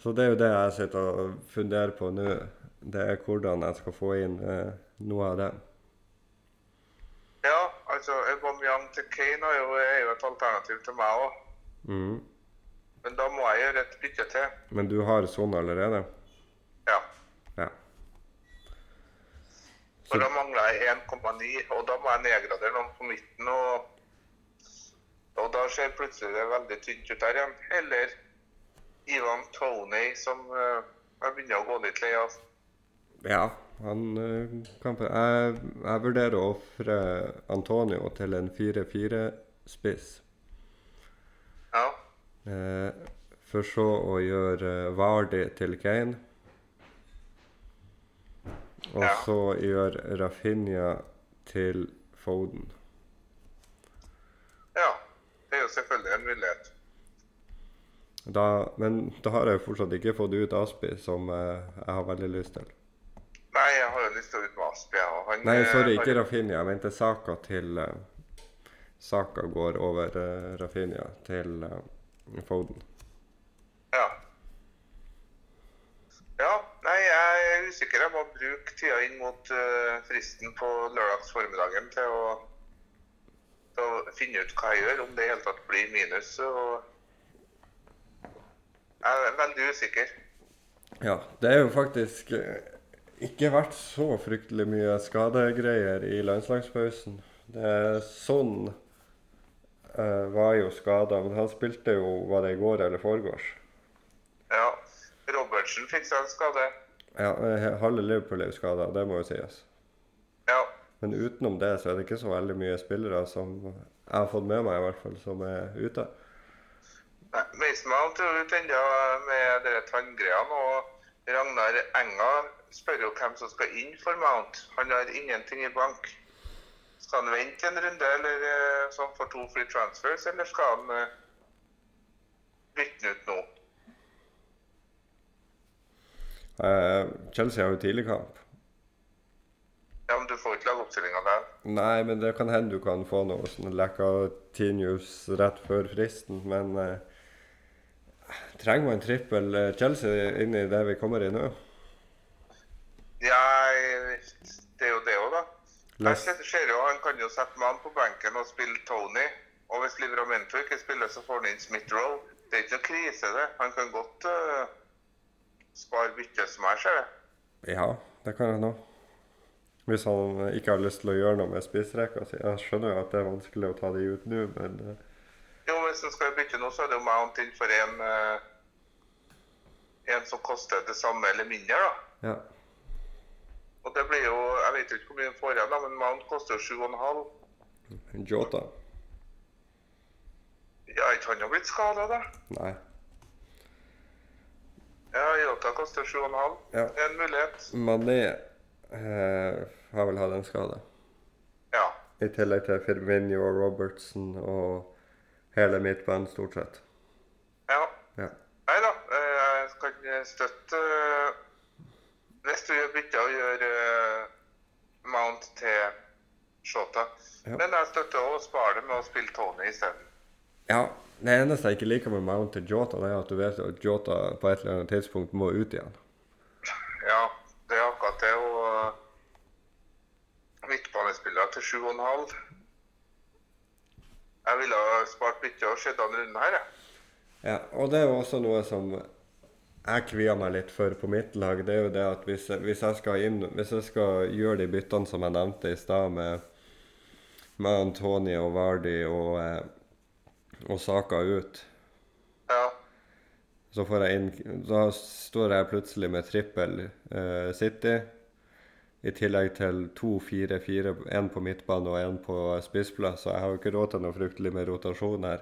[SPEAKER 1] Så det er jo det jeg sitter og funderer på nå. Det er hvordan jeg skal få inn eh, noe av det.
[SPEAKER 2] ja altså, Aubameyang til Kane er jo, er jo et alternativ til meg òg.
[SPEAKER 1] Mhm.
[SPEAKER 2] Men da må jeg gjøre et bytte til.
[SPEAKER 1] Men du har Son allerede?
[SPEAKER 2] Ja.
[SPEAKER 1] Ja.
[SPEAKER 2] For da mangler jeg 1,9, og da må jeg nedgradere noen på midten. Og, og da ser plutselig det veldig tynt ut der igjen. Eller Ivan Toney, som eh, jeg begynner å gå litt lei av.
[SPEAKER 1] Ja, han eh, kan på Jeg, jeg vurderer å ofre Antonio til en 4-4-spiss.
[SPEAKER 2] Ja.
[SPEAKER 1] Eh, for så å gjøre eh, Vardy til Kane. Og
[SPEAKER 2] Ja.
[SPEAKER 1] så gjøre Rafinha til Foden.
[SPEAKER 2] ja. Det er jo selvfølgelig en mulighet.
[SPEAKER 1] Da, men da har jeg jo fortsatt ikke fått ut Aspi, som eh, jeg har veldig lyst til.
[SPEAKER 2] Nei, jeg har jo lyst til å ut med Aspi. jeg, og han,
[SPEAKER 1] Nei,
[SPEAKER 2] eh,
[SPEAKER 1] sorry,
[SPEAKER 2] har-
[SPEAKER 1] ikke Rafinha. Jeg mente Saka til eh, Saka går over eh, Rafinha til eh, Foden.
[SPEAKER 2] Ja. Ja, nei, jeg er usikker. Jeg må bruke tida inn mot eh, fristen på lørdags formiddagen til å, til å finne ut hva jeg gjør, om det i hele tatt blir minus. Og jeg er veldig usikker.
[SPEAKER 1] Ja, det er jo faktisk eh, ikke vært så fryktelig mye skadegreier i landslagspausen. Det er sånn eh, var jo skada, men han spilte jo var det i går eller foregårs.
[SPEAKER 2] Ja, Robertsen fikk seg en skade.
[SPEAKER 1] Ja, eh, halve Liverpool er jo skada, det må jo sies.
[SPEAKER 2] Ja,
[SPEAKER 1] Men utenom det så er det ikke så veldig mye spillere som jeg har fått med meg, i hvert fall, som er ute.
[SPEAKER 2] nei, Mason Mount er jo ute ennå med de tanngreiene. Og Ragnar Enga spør jo hvem som skal inn for Mount. Han har ingenting i bank. Skal han vente en runde eller eh, så han får to free transfers, eller skal han eh, bytte den ut nå?
[SPEAKER 1] Eh, Chelsea har jo tidlig kamp.
[SPEAKER 2] Ja, men du får ikke lagoppstillinga der.
[SPEAKER 1] Nei, men det kan hende du kan få noe sånn Lacatinius rett før fristen, men eh, Trenger man trippel eh, Chelsea inn i det vi kommer i nå?
[SPEAKER 2] Ja, jeg- det er jo det òg, da. Jeg
[SPEAKER 1] Les-
[SPEAKER 2] ser, ser jo Han kan jo sette mann på benken og spille Tony. Og hvis Livramento ikke spiller, så får han inn Smith-Roe. Det er ikke noe krise, det. Han kan godt eh, spare byttet, som jeg ser det.
[SPEAKER 1] Ja, det kan han òg. Hvis han eh, ikke har lyst til å gjøre noe med spissrekka si. Jeg skjønner jo at det er vanskelig å ta de ut nå, men eh,
[SPEAKER 2] Jo, hvis han skal bytte nå, så er det jo Mount inn for en eh, En som koster det samme eller mindre,
[SPEAKER 1] eh,
[SPEAKER 2] da.
[SPEAKER 1] ja.
[SPEAKER 2] Og det blir jo Jeg vet jo ikke hvor mye han får igjen, da, men Mount koster jo 7,5.
[SPEAKER 1] Jota?
[SPEAKER 2] Ja, ikke han har blitt skada, da?
[SPEAKER 1] Nei.
[SPEAKER 2] Ja, Jota koster 7,5.
[SPEAKER 1] Ja.
[SPEAKER 2] Det er en mulighet.
[SPEAKER 1] Mané eh, har vel hatt en skade.
[SPEAKER 2] Ja.
[SPEAKER 1] I tillegg til Firmino og Robertson og hele midtbanen, stort sett.
[SPEAKER 2] ja.
[SPEAKER 1] Ja.
[SPEAKER 2] Nei da, eh, jeg kan støtte eh, Hvis du gjør bytte og gjør eh, Mount til Shota.
[SPEAKER 1] Ja.
[SPEAKER 2] Men jeg støtter å spare det med å spille Tony isteden.
[SPEAKER 1] ja. Det eneste jeg ikke liker med Mount til Jota, det er at du vet at Jota på et eller annet tidspunkt må ut igjen.
[SPEAKER 2] Ja, det er akkurat det. Og eh, midtbanespillere til 7,5 Jeg ville ha spart bytte og sett an runden her, jeg.
[SPEAKER 1] Ja, og det er jo også noe som jeg kvier meg litt for på mitt lag. Det er jo det at hvis, jeg- hvis, jeg, skal inn, hvis jeg skal gjøre de byttene som jeg nevnte i stad, med, med Antoni og Vardi og, eh, og Saka ut,
[SPEAKER 2] Ja.
[SPEAKER 1] så får jeg inn Da står jeg plutselig med trippel eh, City, I tillegg til to, fire, fire, én på midtbane og én på spissplass. Så jeg har jo ikke råd til noe fryktelig med rotasjon her.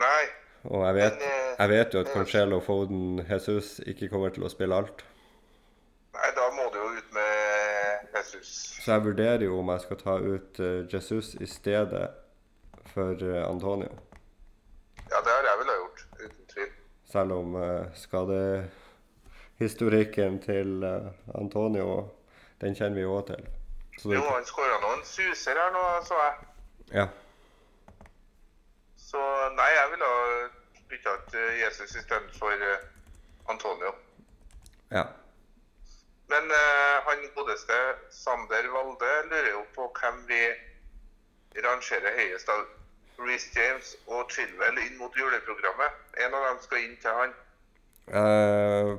[SPEAKER 2] Nei.
[SPEAKER 1] Og jeg vet,
[SPEAKER 2] Men, eh,
[SPEAKER 1] jeg vet jo at Cancelo, Foden, Jesus ikke kommer til å spille alt.
[SPEAKER 2] Nei, da må du jo ut med Jesus.
[SPEAKER 1] Så jeg vurderer jo om jeg skal ta ut eh, Jesus i stedet for eh, Antonio.
[SPEAKER 2] Ja, det har jeg vel ha gjort, uten tvil.
[SPEAKER 1] Selv om eh, skadehistorikken til eh, Antonio, den kjenner vi jo også til. Så
[SPEAKER 2] Jo,
[SPEAKER 1] det,
[SPEAKER 2] han skåra noen suser her nå, så jeg.
[SPEAKER 1] ja.
[SPEAKER 2] Så nei, jeg ville ha bytta ut eh, Jesus istedenfor eh, Antonio.
[SPEAKER 1] ja.
[SPEAKER 2] Men eh, han godeste Sander Valde lurer jo på hvem vi rangerer høyest av Reece James og Chilwell inn mot juleprogrammet. En av dem skal inn til han.
[SPEAKER 1] Eh,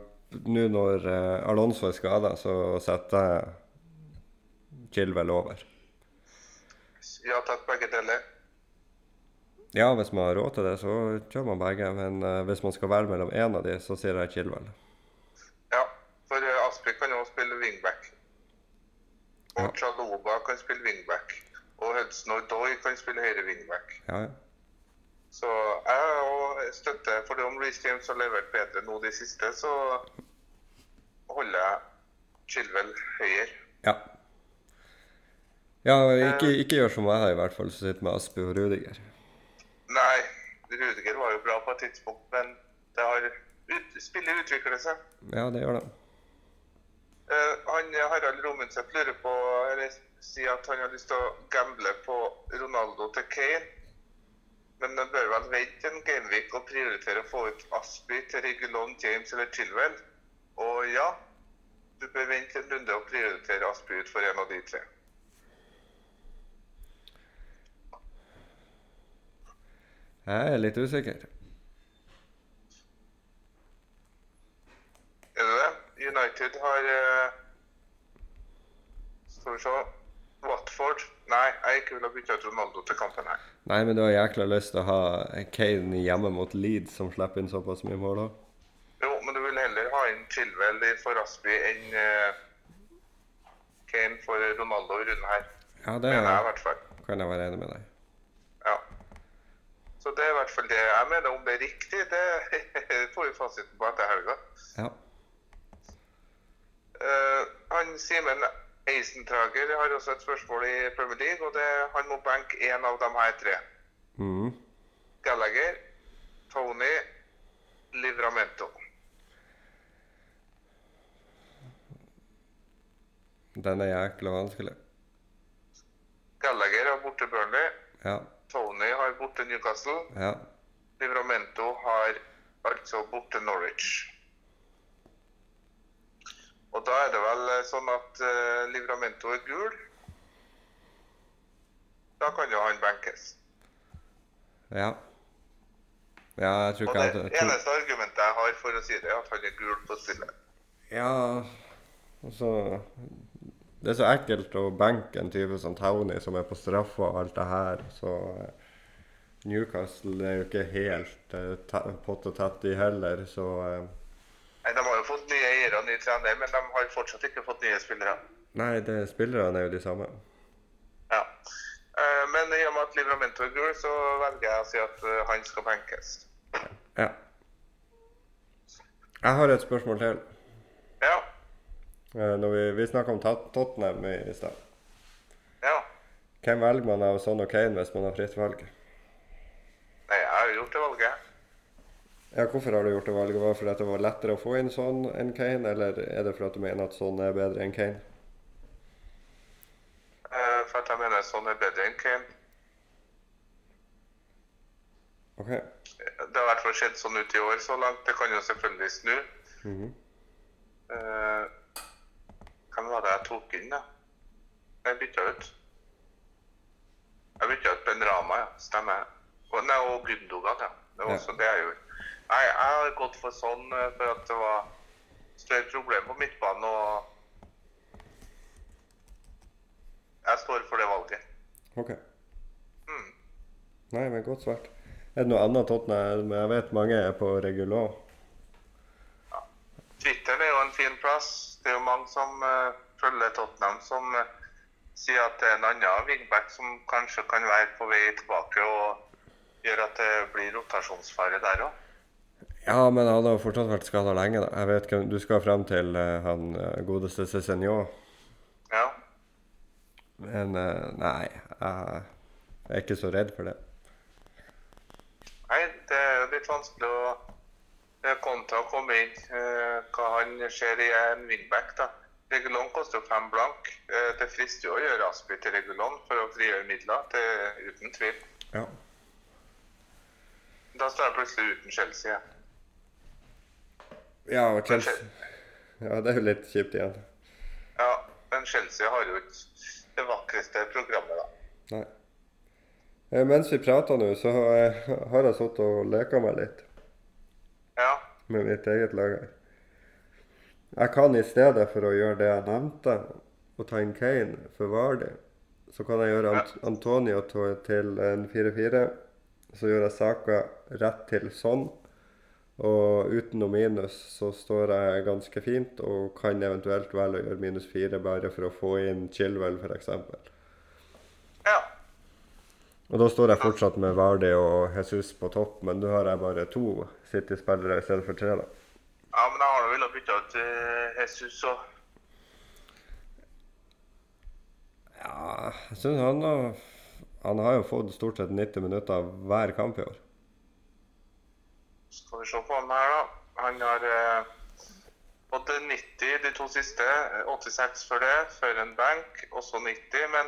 [SPEAKER 1] Nå når eh, Alonso er skada, så setter jeg Chilwell over.
[SPEAKER 2] Ja, tatt begge deler.
[SPEAKER 1] Ja, hvis man har råd til det, så kjører man begge. Men eh, hvis man skal velge mellom én av de, så sier jeg Chilwell.
[SPEAKER 2] Ja, for eh, Aspik kan jo spille wingback. Og Chaloba kan spille wingback. Og Hudson Odoi kan spille høyre wingback.
[SPEAKER 1] Ja, ja.
[SPEAKER 2] Så jeg og støtter for det om Reece James har levert bedre nå de siste, så holder jeg Chilwell høyere.
[SPEAKER 1] Ja. Ja, ikke, ikke gjør som jeg har i hvert fall, som sitter med Aspi og Rudiger.
[SPEAKER 2] Nei, Rudiger var jo bra på et tidspunkt, men det har ut, spillet utvikler seg.
[SPEAKER 1] Ja, det gjør de.
[SPEAKER 2] Eh, han, Harald Romundseth lurer på eller sier at han har lyst til å gamble på Ronaldo til Kane. Men han bør vel vente en gameweek og prioritere å få ut Aspi til Regulon, James eller Chilwell. Og ja, du bør vente en runde og prioritere Aspi ut for en av de tre.
[SPEAKER 1] Jeg er litt usikker.
[SPEAKER 2] Er det det? United har eh, Skal vi se Watford. Nei, jeg ikke ville bytte ut Ronaldo til kampen her.
[SPEAKER 1] Nei, men du har jækla lyst til å ha Kane hjemme mot Leeds, som slipper inn såpass mye mål òg.
[SPEAKER 2] Jo, men du vil heller ha inn Chilwell i- for Aspi enn eh, Kane for Ronaldo i runden her.
[SPEAKER 1] Ja, det
[SPEAKER 2] Mener jeg i hvert fall.
[SPEAKER 1] kan jeg være enig med deg
[SPEAKER 2] Ja. Så det er i hvert fall det jeg mener. Om det er riktig, det får vi fasiten på etter helga.
[SPEAKER 1] Ja.
[SPEAKER 2] Eh, han Simen Eisentrager har også et spørsmål i Premier League, og det, han må benke én av de her tre.
[SPEAKER 1] Mhm.
[SPEAKER 2] Gallagher, Tony, Livramento.
[SPEAKER 1] Den er jækla vanskelig.
[SPEAKER 2] Gallagher har borte Burnley,
[SPEAKER 1] Ja.
[SPEAKER 2] Tony har borte Newcastle,
[SPEAKER 1] Ja.
[SPEAKER 2] Livramento har altså borte Norwich. Og da er det vel eh, sånn at eh, Livramento er gul. Da kan jo han benkes.
[SPEAKER 1] Ja. Ja, jeg tror
[SPEAKER 2] Og
[SPEAKER 1] ikke jeg
[SPEAKER 2] det
[SPEAKER 1] jeg tror-
[SPEAKER 2] eneste argumentet jeg har for å si det, er at han er gul på spillet.
[SPEAKER 1] Ja, altså Det er så ekkelt å benke en type som Tony, som er på straffa og alt det her. Så eh, Newcastle er jo ikke helt eh, te- pott og tett, de heller, så eh,
[SPEAKER 2] Nei, De har jo fått nye eiere og ny trener, men de har fortsatt ikke fått nye spillere.
[SPEAKER 1] Nei, det, spillerne er jo de samme.
[SPEAKER 2] Ja. Eh, Men i og med at Livramento er gul, så velger jeg å si at eh, han skal benkes.
[SPEAKER 1] Ja. Jeg har et spørsmål til.
[SPEAKER 2] Ja.
[SPEAKER 1] Eh, Når vi vi snakka om Tot- Tottenham i i stad.
[SPEAKER 2] ja.
[SPEAKER 1] Hvem velger man av Son og Kane hvis man har fritt valg?
[SPEAKER 2] Nei, jeg har jo gjort det valget.
[SPEAKER 1] Ja, Hvorfor har du gjort det valget? Var det fordi at det var lettere å få inn Son enn Kane, eller er det fordi at du mener at Son er bedre enn Kane?
[SPEAKER 2] Eh, For at jeg mener sånn er bedre enn Kane.
[SPEAKER 1] Ok.
[SPEAKER 2] Det har i hvert fall skjedd sånn ut i år så langt. Det kan jo selvfølgelig snu.
[SPEAKER 1] Mhm.
[SPEAKER 2] Eh, Hvem var det jeg tok inn, da? Jeg bytta ut. Jeg bytta ut Ben Rama, ja. Stemmer. Og, nei, og Gundogan, ja. Det var
[SPEAKER 1] Ja.
[SPEAKER 2] også det jeg gjorde. Nei, jeg har gått for sånn eh, for at det var større problem på midtbanen, og jeg står for det valget.
[SPEAKER 1] Ok.
[SPEAKER 2] Mm.
[SPEAKER 1] Nei, men godt svart. Er det noe annet Tottenham? Jeg vet mange er på regular.
[SPEAKER 2] Twitter er jo en fin plass. Det er jo mange som eh, følger Tottenham, som eh, sier at det er en annen wingback som kanskje kan være på vei tilbake og gjør at det blir rotasjonsfare der òg.
[SPEAKER 1] Ja, men han har fortsatt vært skada lenge. da. Jeg vet hvem, Du skal frem til eh, han eh, godeste Cézinho.
[SPEAKER 2] Ja.
[SPEAKER 1] Men eh, nei, jeg er ikke så redd for det.
[SPEAKER 2] Nei, det er jo litt vanskelig å eh, Konta å komme inn. eh, Hva han ser i en wingback, da. Regulon koster jo fem blank. Eh, Det frister jo å gjøre Aspi til Regulon for å frigjøre midler, det er uten tvil.
[SPEAKER 1] Ja.
[SPEAKER 2] Da står jeg plutselig uten Chelsea. Ja.
[SPEAKER 1] Ja, og Chelsea. ja det er jo litt kjipt igjen.
[SPEAKER 2] Ja, men Chelsea har jo ikke det vakreste programmet, da.
[SPEAKER 1] Nei. Eh, Mens vi prater nå, så eh, har jeg sittet og leka meg litt
[SPEAKER 2] Ja,
[SPEAKER 1] med mitt eget lag her. Jeg kan i stedet for å gjøre det jeg nevnte, og ta inn Kane for Vardy, så kan jeg gjøre Ant Antonio to- til en 4-4. Så gjør jeg saka rett til sånn. Og uten noe minus så står jeg ganske fint og kan eventuelt velge å gjøre minus fire bare for å få inn Chilwell, f.eks.
[SPEAKER 2] ja,
[SPEAKER 1] Og da står jeg fortsatt med Vardi og Jesus på topp, men nå har jeg bare to City-spillere i stedet for tre. da.
[SPEAKER 2] ja men jeg har nå villet bytte ut eh, Jesus og
[SPEAKER 1] Ja, jeg synes han har Han har jo fått stort sett 90 minutter hver kamp i år.
[SPEAKER 2] Skal vi se på ham her, da. Han har eh, fått 90 de to siste. eh, 86 før det, før en benk, og så 90. Men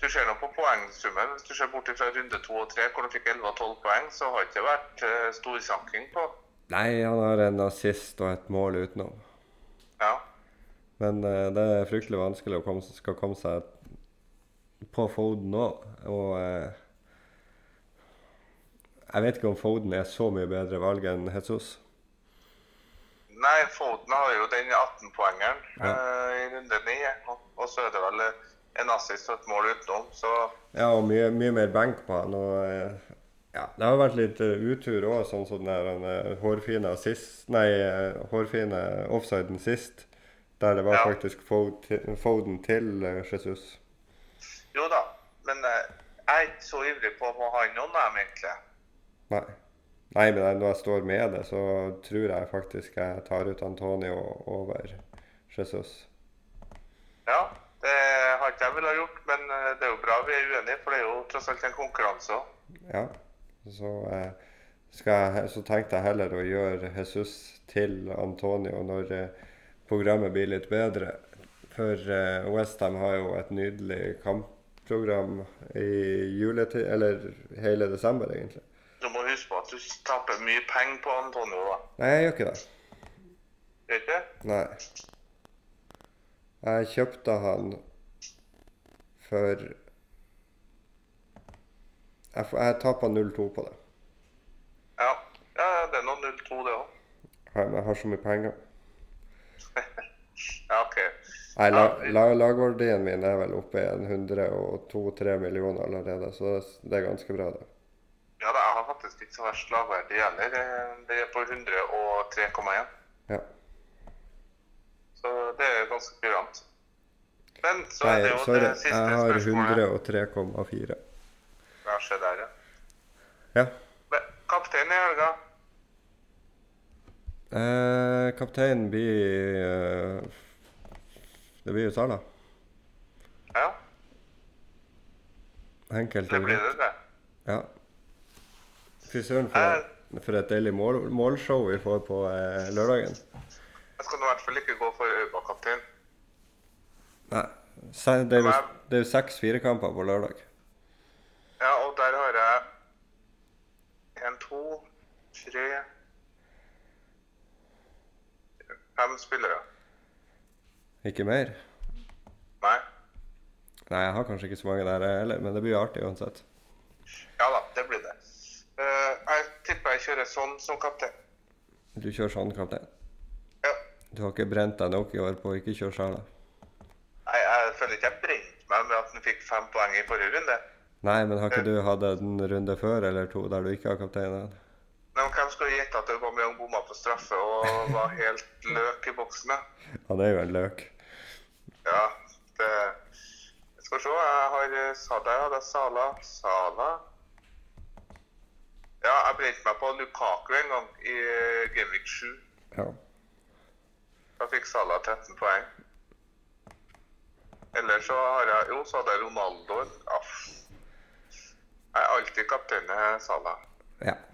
[SPEAKER 2] du ser nå på poengsummen. Hvis du ser bort fra runde to og tre, hvor han fikk 11 og 12 poeng, så har det ikke vært eh, storsanking på.
[SPEAKER 1] Nei, han har en assist og et mål utenom.
[SPEAKER 2] Ja.
[SPEAKER 1] Men eh, det er fryktelig vanskelig å komme, skal komme seg på Foden nå. Og eh, jeg vet ikke om Foden er så mye bedre valg enn Jesus.
[SPEAKER 2] Nei, Foden har jo den 18-poengeren
[SPEAKER 1] Ja.
[SPEAKER 2] eh, i runde 9. Og, og så er det vel eh, en assist og et mål utenom, så
[SPEAKER 1] Ja, og mye, mye mer benk på han. Og, eh, ja, det har vært litt eh, utur òg, sånn som den der, eh, hårfine, assist, nei, eh, hårfine offsiden sist. Der det var
[SPEAKER 2] Ja.
[SPEAKER 1] faktisk Fod- til- Foden til eh, Jesus.
[SPEAKER 2] Jo da. Men eh, jeg er ikke så ivrig på å ha noen av dem, egentlig.
[SPEAKER 1] Nei. Nei, men når jeg står med det, så tror jeg faktisk jeg tar ut Antonio over Jesus.
[SPEAKER 2] Ja, det har ikke jeg villet ha gjort, men eh, det er jo bra vi er uenige, for det er jo tross alt en konkurranse òg.
[SPEAKER 1] Ja. Så, eh, skal jeg, så tenkte jeg heller å gjøre Jesus til Antonio når eh, programmet blir litt bedre. For eh, Westham har jo et nydelig kampprogram i juletid, eller hele desember, egentlig.
[SPEAKER 2] Du må huske på at du taper mye penger på Antonio, da.
[SPEAKER 1] Nei, jeg gjør ikke det.
[SPEAKER 2] Gjør ikke?
[SPEAKER 1] Nei. Jeg kjøpte han for Jeg, f- jeg tappa 0-2 på det.
[SPEAKER 2] Ja. ja, det er nå 0-2, det òg.
[SPEAKER 1] Jeg jeg har så mye penger.
[SPEAKER 2] Ja, OK.
[SPEAKER 1] Nei, la,
[SPEAKER 2] Ja,
[SPEAKER 1] la, lagverdien min er vel oppe i en 102-3 millioner allerede, så det, det er ganske bra, det.
[SPEAKER 2] Ja, da, jeg har faktisk ikke så verst lavverdi heller. Eh, Det er på 103,1.
[SPEAKER 1] Ja.
[SPEAKER 2] Så det er ganske kurant. Men så
[SPEAKER 1] Nei,
[SPEAKER 2] er det jo
[SPEAKER 1] sorry,
[SPEAKER 2] det siste
[SPEAKER 1] jeg har
[SPEAKER 2] spørsmålet.
[SPEAKER 1] 103,4.
[SPEAKER 2] Ja, se der, ja.
[SPEAKER 1] Ja.
[SPEAKER 2] Men Kapteinen i helga.
[SPEAKER 1] Eh, kapteinen blir eh, Det blir jo Salah.
[SPEAKER 2] Ja,
[SPEAKER 1] Enkelt
[SPEAKER 2] det
[SPEAKER 1] og
[SPEAKER 2] blir
[SPEAKER 1] greit.
[SPEAKER 2] det, det. Eh.
[SPEAKER 1] Ja. Fy søren, for, for et deilig mål, målshow vi får på eh, lørdagen.
[SPEAKER 2] Jeg skal nå i hvert fall ikke gå for Auba-kaptein.
[SPEAKER 1] Nei. Se, Det er jo, det er jo seks firekamper på lørdag.
[SPEAKER 2] Ja, og der har jeg en, to, tre Fem spillere.
[SPEAKER 1] Ikke mer?
[SPEAKER 2] Nei.
[SPEAKER 1] Nei, jeg har kanskje ikke så mange der jeg heller, men det blir jo artig uansett.
[SPEAKER 2] Ja da, det blir det. Eh, jeg tipper jeg kjører sånn som kaptein.
[SPEAKER 1] Du kjører sånn, kaptein.
[SPEAKER 2] Ja.
[SPEAKER 1] Du har ikke brent deg nok i år på å ikke kjøre sånn, sala.
[SPEAKER 2] Nei, jeg føler ikke jeg brente meg med at han fikk fem poeng i forrige runde.
[SPEAKER 1] Nei, men har ikke du hatt en runde før eller to der du ikke har kapteinen?
[SPEAKER 2] Men hvem skulle gjette at Aubameyang bomma på straffe og var helt løk i boksen? da?
[SPEAKER 1] Han er jo en løk.
[SPEAKER 2] Ja, det Jeg skal se. Jeg har eh, sa der hadde jeg Sala. Sala Ja, jeg brente meg på Lukaku en gang i eh, Gameweek 7.
[SPEAKER 1] Ja.
[SPEAKER 2] Da fikk Sala 13 poeng. Ellers så har jeg Jo, så hadde jeg Ronaldo. Aff. Jeg er alltid kaptein eh, med Sala.
[SPEAKER 1] ja.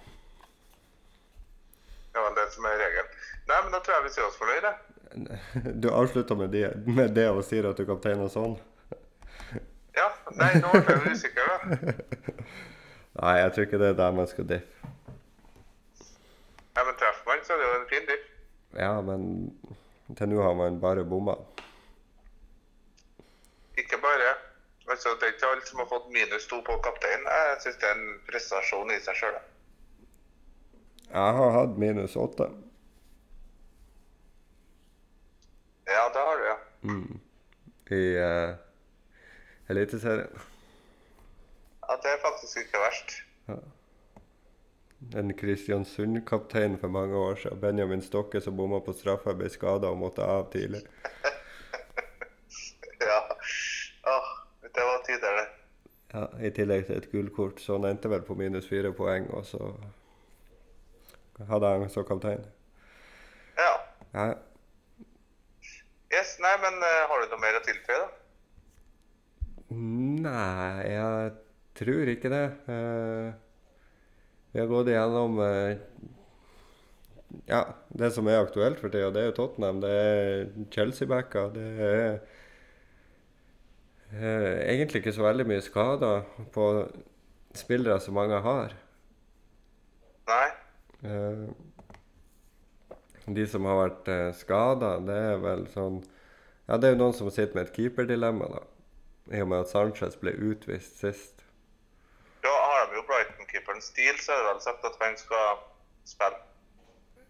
[SPEAKER 2] Det er vel det som er regelen. Nei, men da tror jeg vi sier oss fornøyd, jeg.
[SPEAKER 1] Du avslutta med, de, med det og sier at du kapteiner sånn?
[SPEAKER 2] Ja. Nei, nå ble jeg usikker, da.
[SPEAKER 1] Nei, jeg tror ikke det er der man skal diffe.
[SPEAKER 2] Ja, men treffer man, så er det jo en fin diff.
[SPEAKER 1] Ja, men til nå har man bare bomma.
[SPEAKER 2] Ikke bare. Altså, det er ikke alle som har fått minus to på kapteinen. Jeg syns det er en prestasjon i seg sjøl.
[SPEAKER 1] Jeg har hatt minus åtte.
[SPEAKER 2] Ja, det har du, ja.
[SPEAKER 1] i uh, Eliteserien.
[SPEAKER 2] ja. Det er faktisk ikke verst.
[SPEAKER 1] En Kristiansund-kaptein for mange år siden, Benjamin Stokke, som bomma på straffa, ble skada og måtte av tidlig.
[SPEAKER 2] Ja. Åh, det var tider, det.
[SPEAKER 1] Ja, I tillegg til et gullkort, så han endte vel på minus fire poeng, og så hadde han som kaptein.
[SPEAKER 2] Ja.
[SPEAKER 1] Ja,
[SPEAKER 2] Yes, nei, men eh, har du noe mer å tilføye, da?
[SPEAKER 1] Nei, jeg tror ikke det. Eh, vi har gått igjennom eh, ja, det som er aktuelt for tida. Det er jo Tottenham, det er Chelsea-backer. Det er eh, egentlig ikke så veldig mye skader på spillere som mange har.
[SPEAKER 2] Nei?
[SPEAKER 1] Eh, de som har vært eh, skada, det er vel sånn Ja, det er jo noen som sitter med et keeperdilemma, da. I og med at Sanchez ble utvist sist.
[SPEAKER 2] Da har de jo Brighton-keeperen Steele, så er det vel sagt at han skal spille.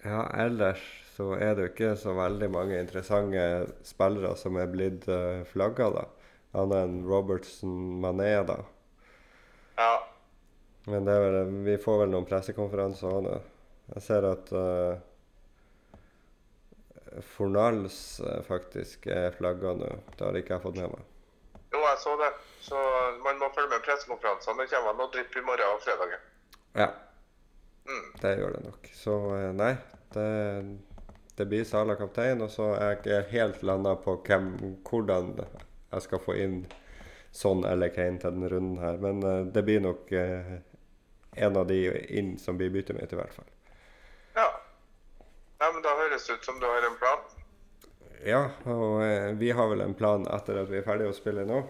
[SPEAKER 1] Ja, ellers så er det jo ikke så veldig mange interessante spillere som er blitt uh, flagga, da. Annet enn Robertson Mané, da.
[SPEAKER 2] Ja.
[SPEAKER 1] Men det er vel, vi får vel noen pressekonferanser òg nå. Jeg ser at eh, Fornals eh, faktisk er flagga nå. Det har ikke jeg fått med meg.
[SPEAKER 2] Jo, jeg så det. Så man må følge med pressekonferansene. Det kommer noe drypp i morgen og fredagen.
[SPEAKER 1] Ja,
[SPEAKER 2] Mm.
[SPEAKER 1] det gjør det nok. Så eh, nei, det, det blir Sala kaptein, og så er jeg ikke helt landa på hvem, hvordan jeg skal få inn sånn eller Kane til denne runden her. Men eh, det blir nok eh, en av de inn som blir byttet mitt, i hvert fall.
[SPEAKER 2] Ja. Nei, men da høres det ut som du har en plan.
[SPEAKER 1] Ja, og eh, vi har vel en plan etter at vi er ferdige å spille nå.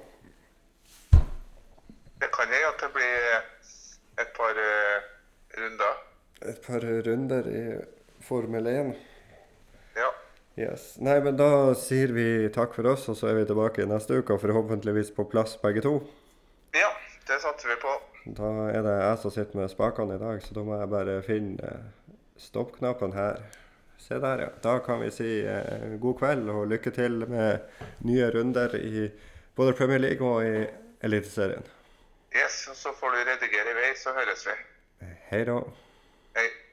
[SPEAKER 2] Det kan hende at det blir et par eh, runder.
[SPEAKER 1] Et par runder i Formel 1.
[SPEAKER 2] Ja.
[SPEAKER 1] Yes. Nei, men da sier vi takk for oss, og så er vi tilbake neste uke, og forhåpentligvis på plass begge to.
[SPEAKER 2] ja, det satser vi på.
[SPEAKER 1] Da er det jeg som sitter med spakene i dag, så da må jeg bare finne eh, stoppknappen her. Se der, ja. Da kan vi si eh, god kveld og lykke til med nye runder i både Premier League og i Eliteserien.
[SPEAKER 2] Yes, og så får du redigere i vei, så høres vi.
[SPEAKER 1] Hei da.
[SPEAKER 2] Hei.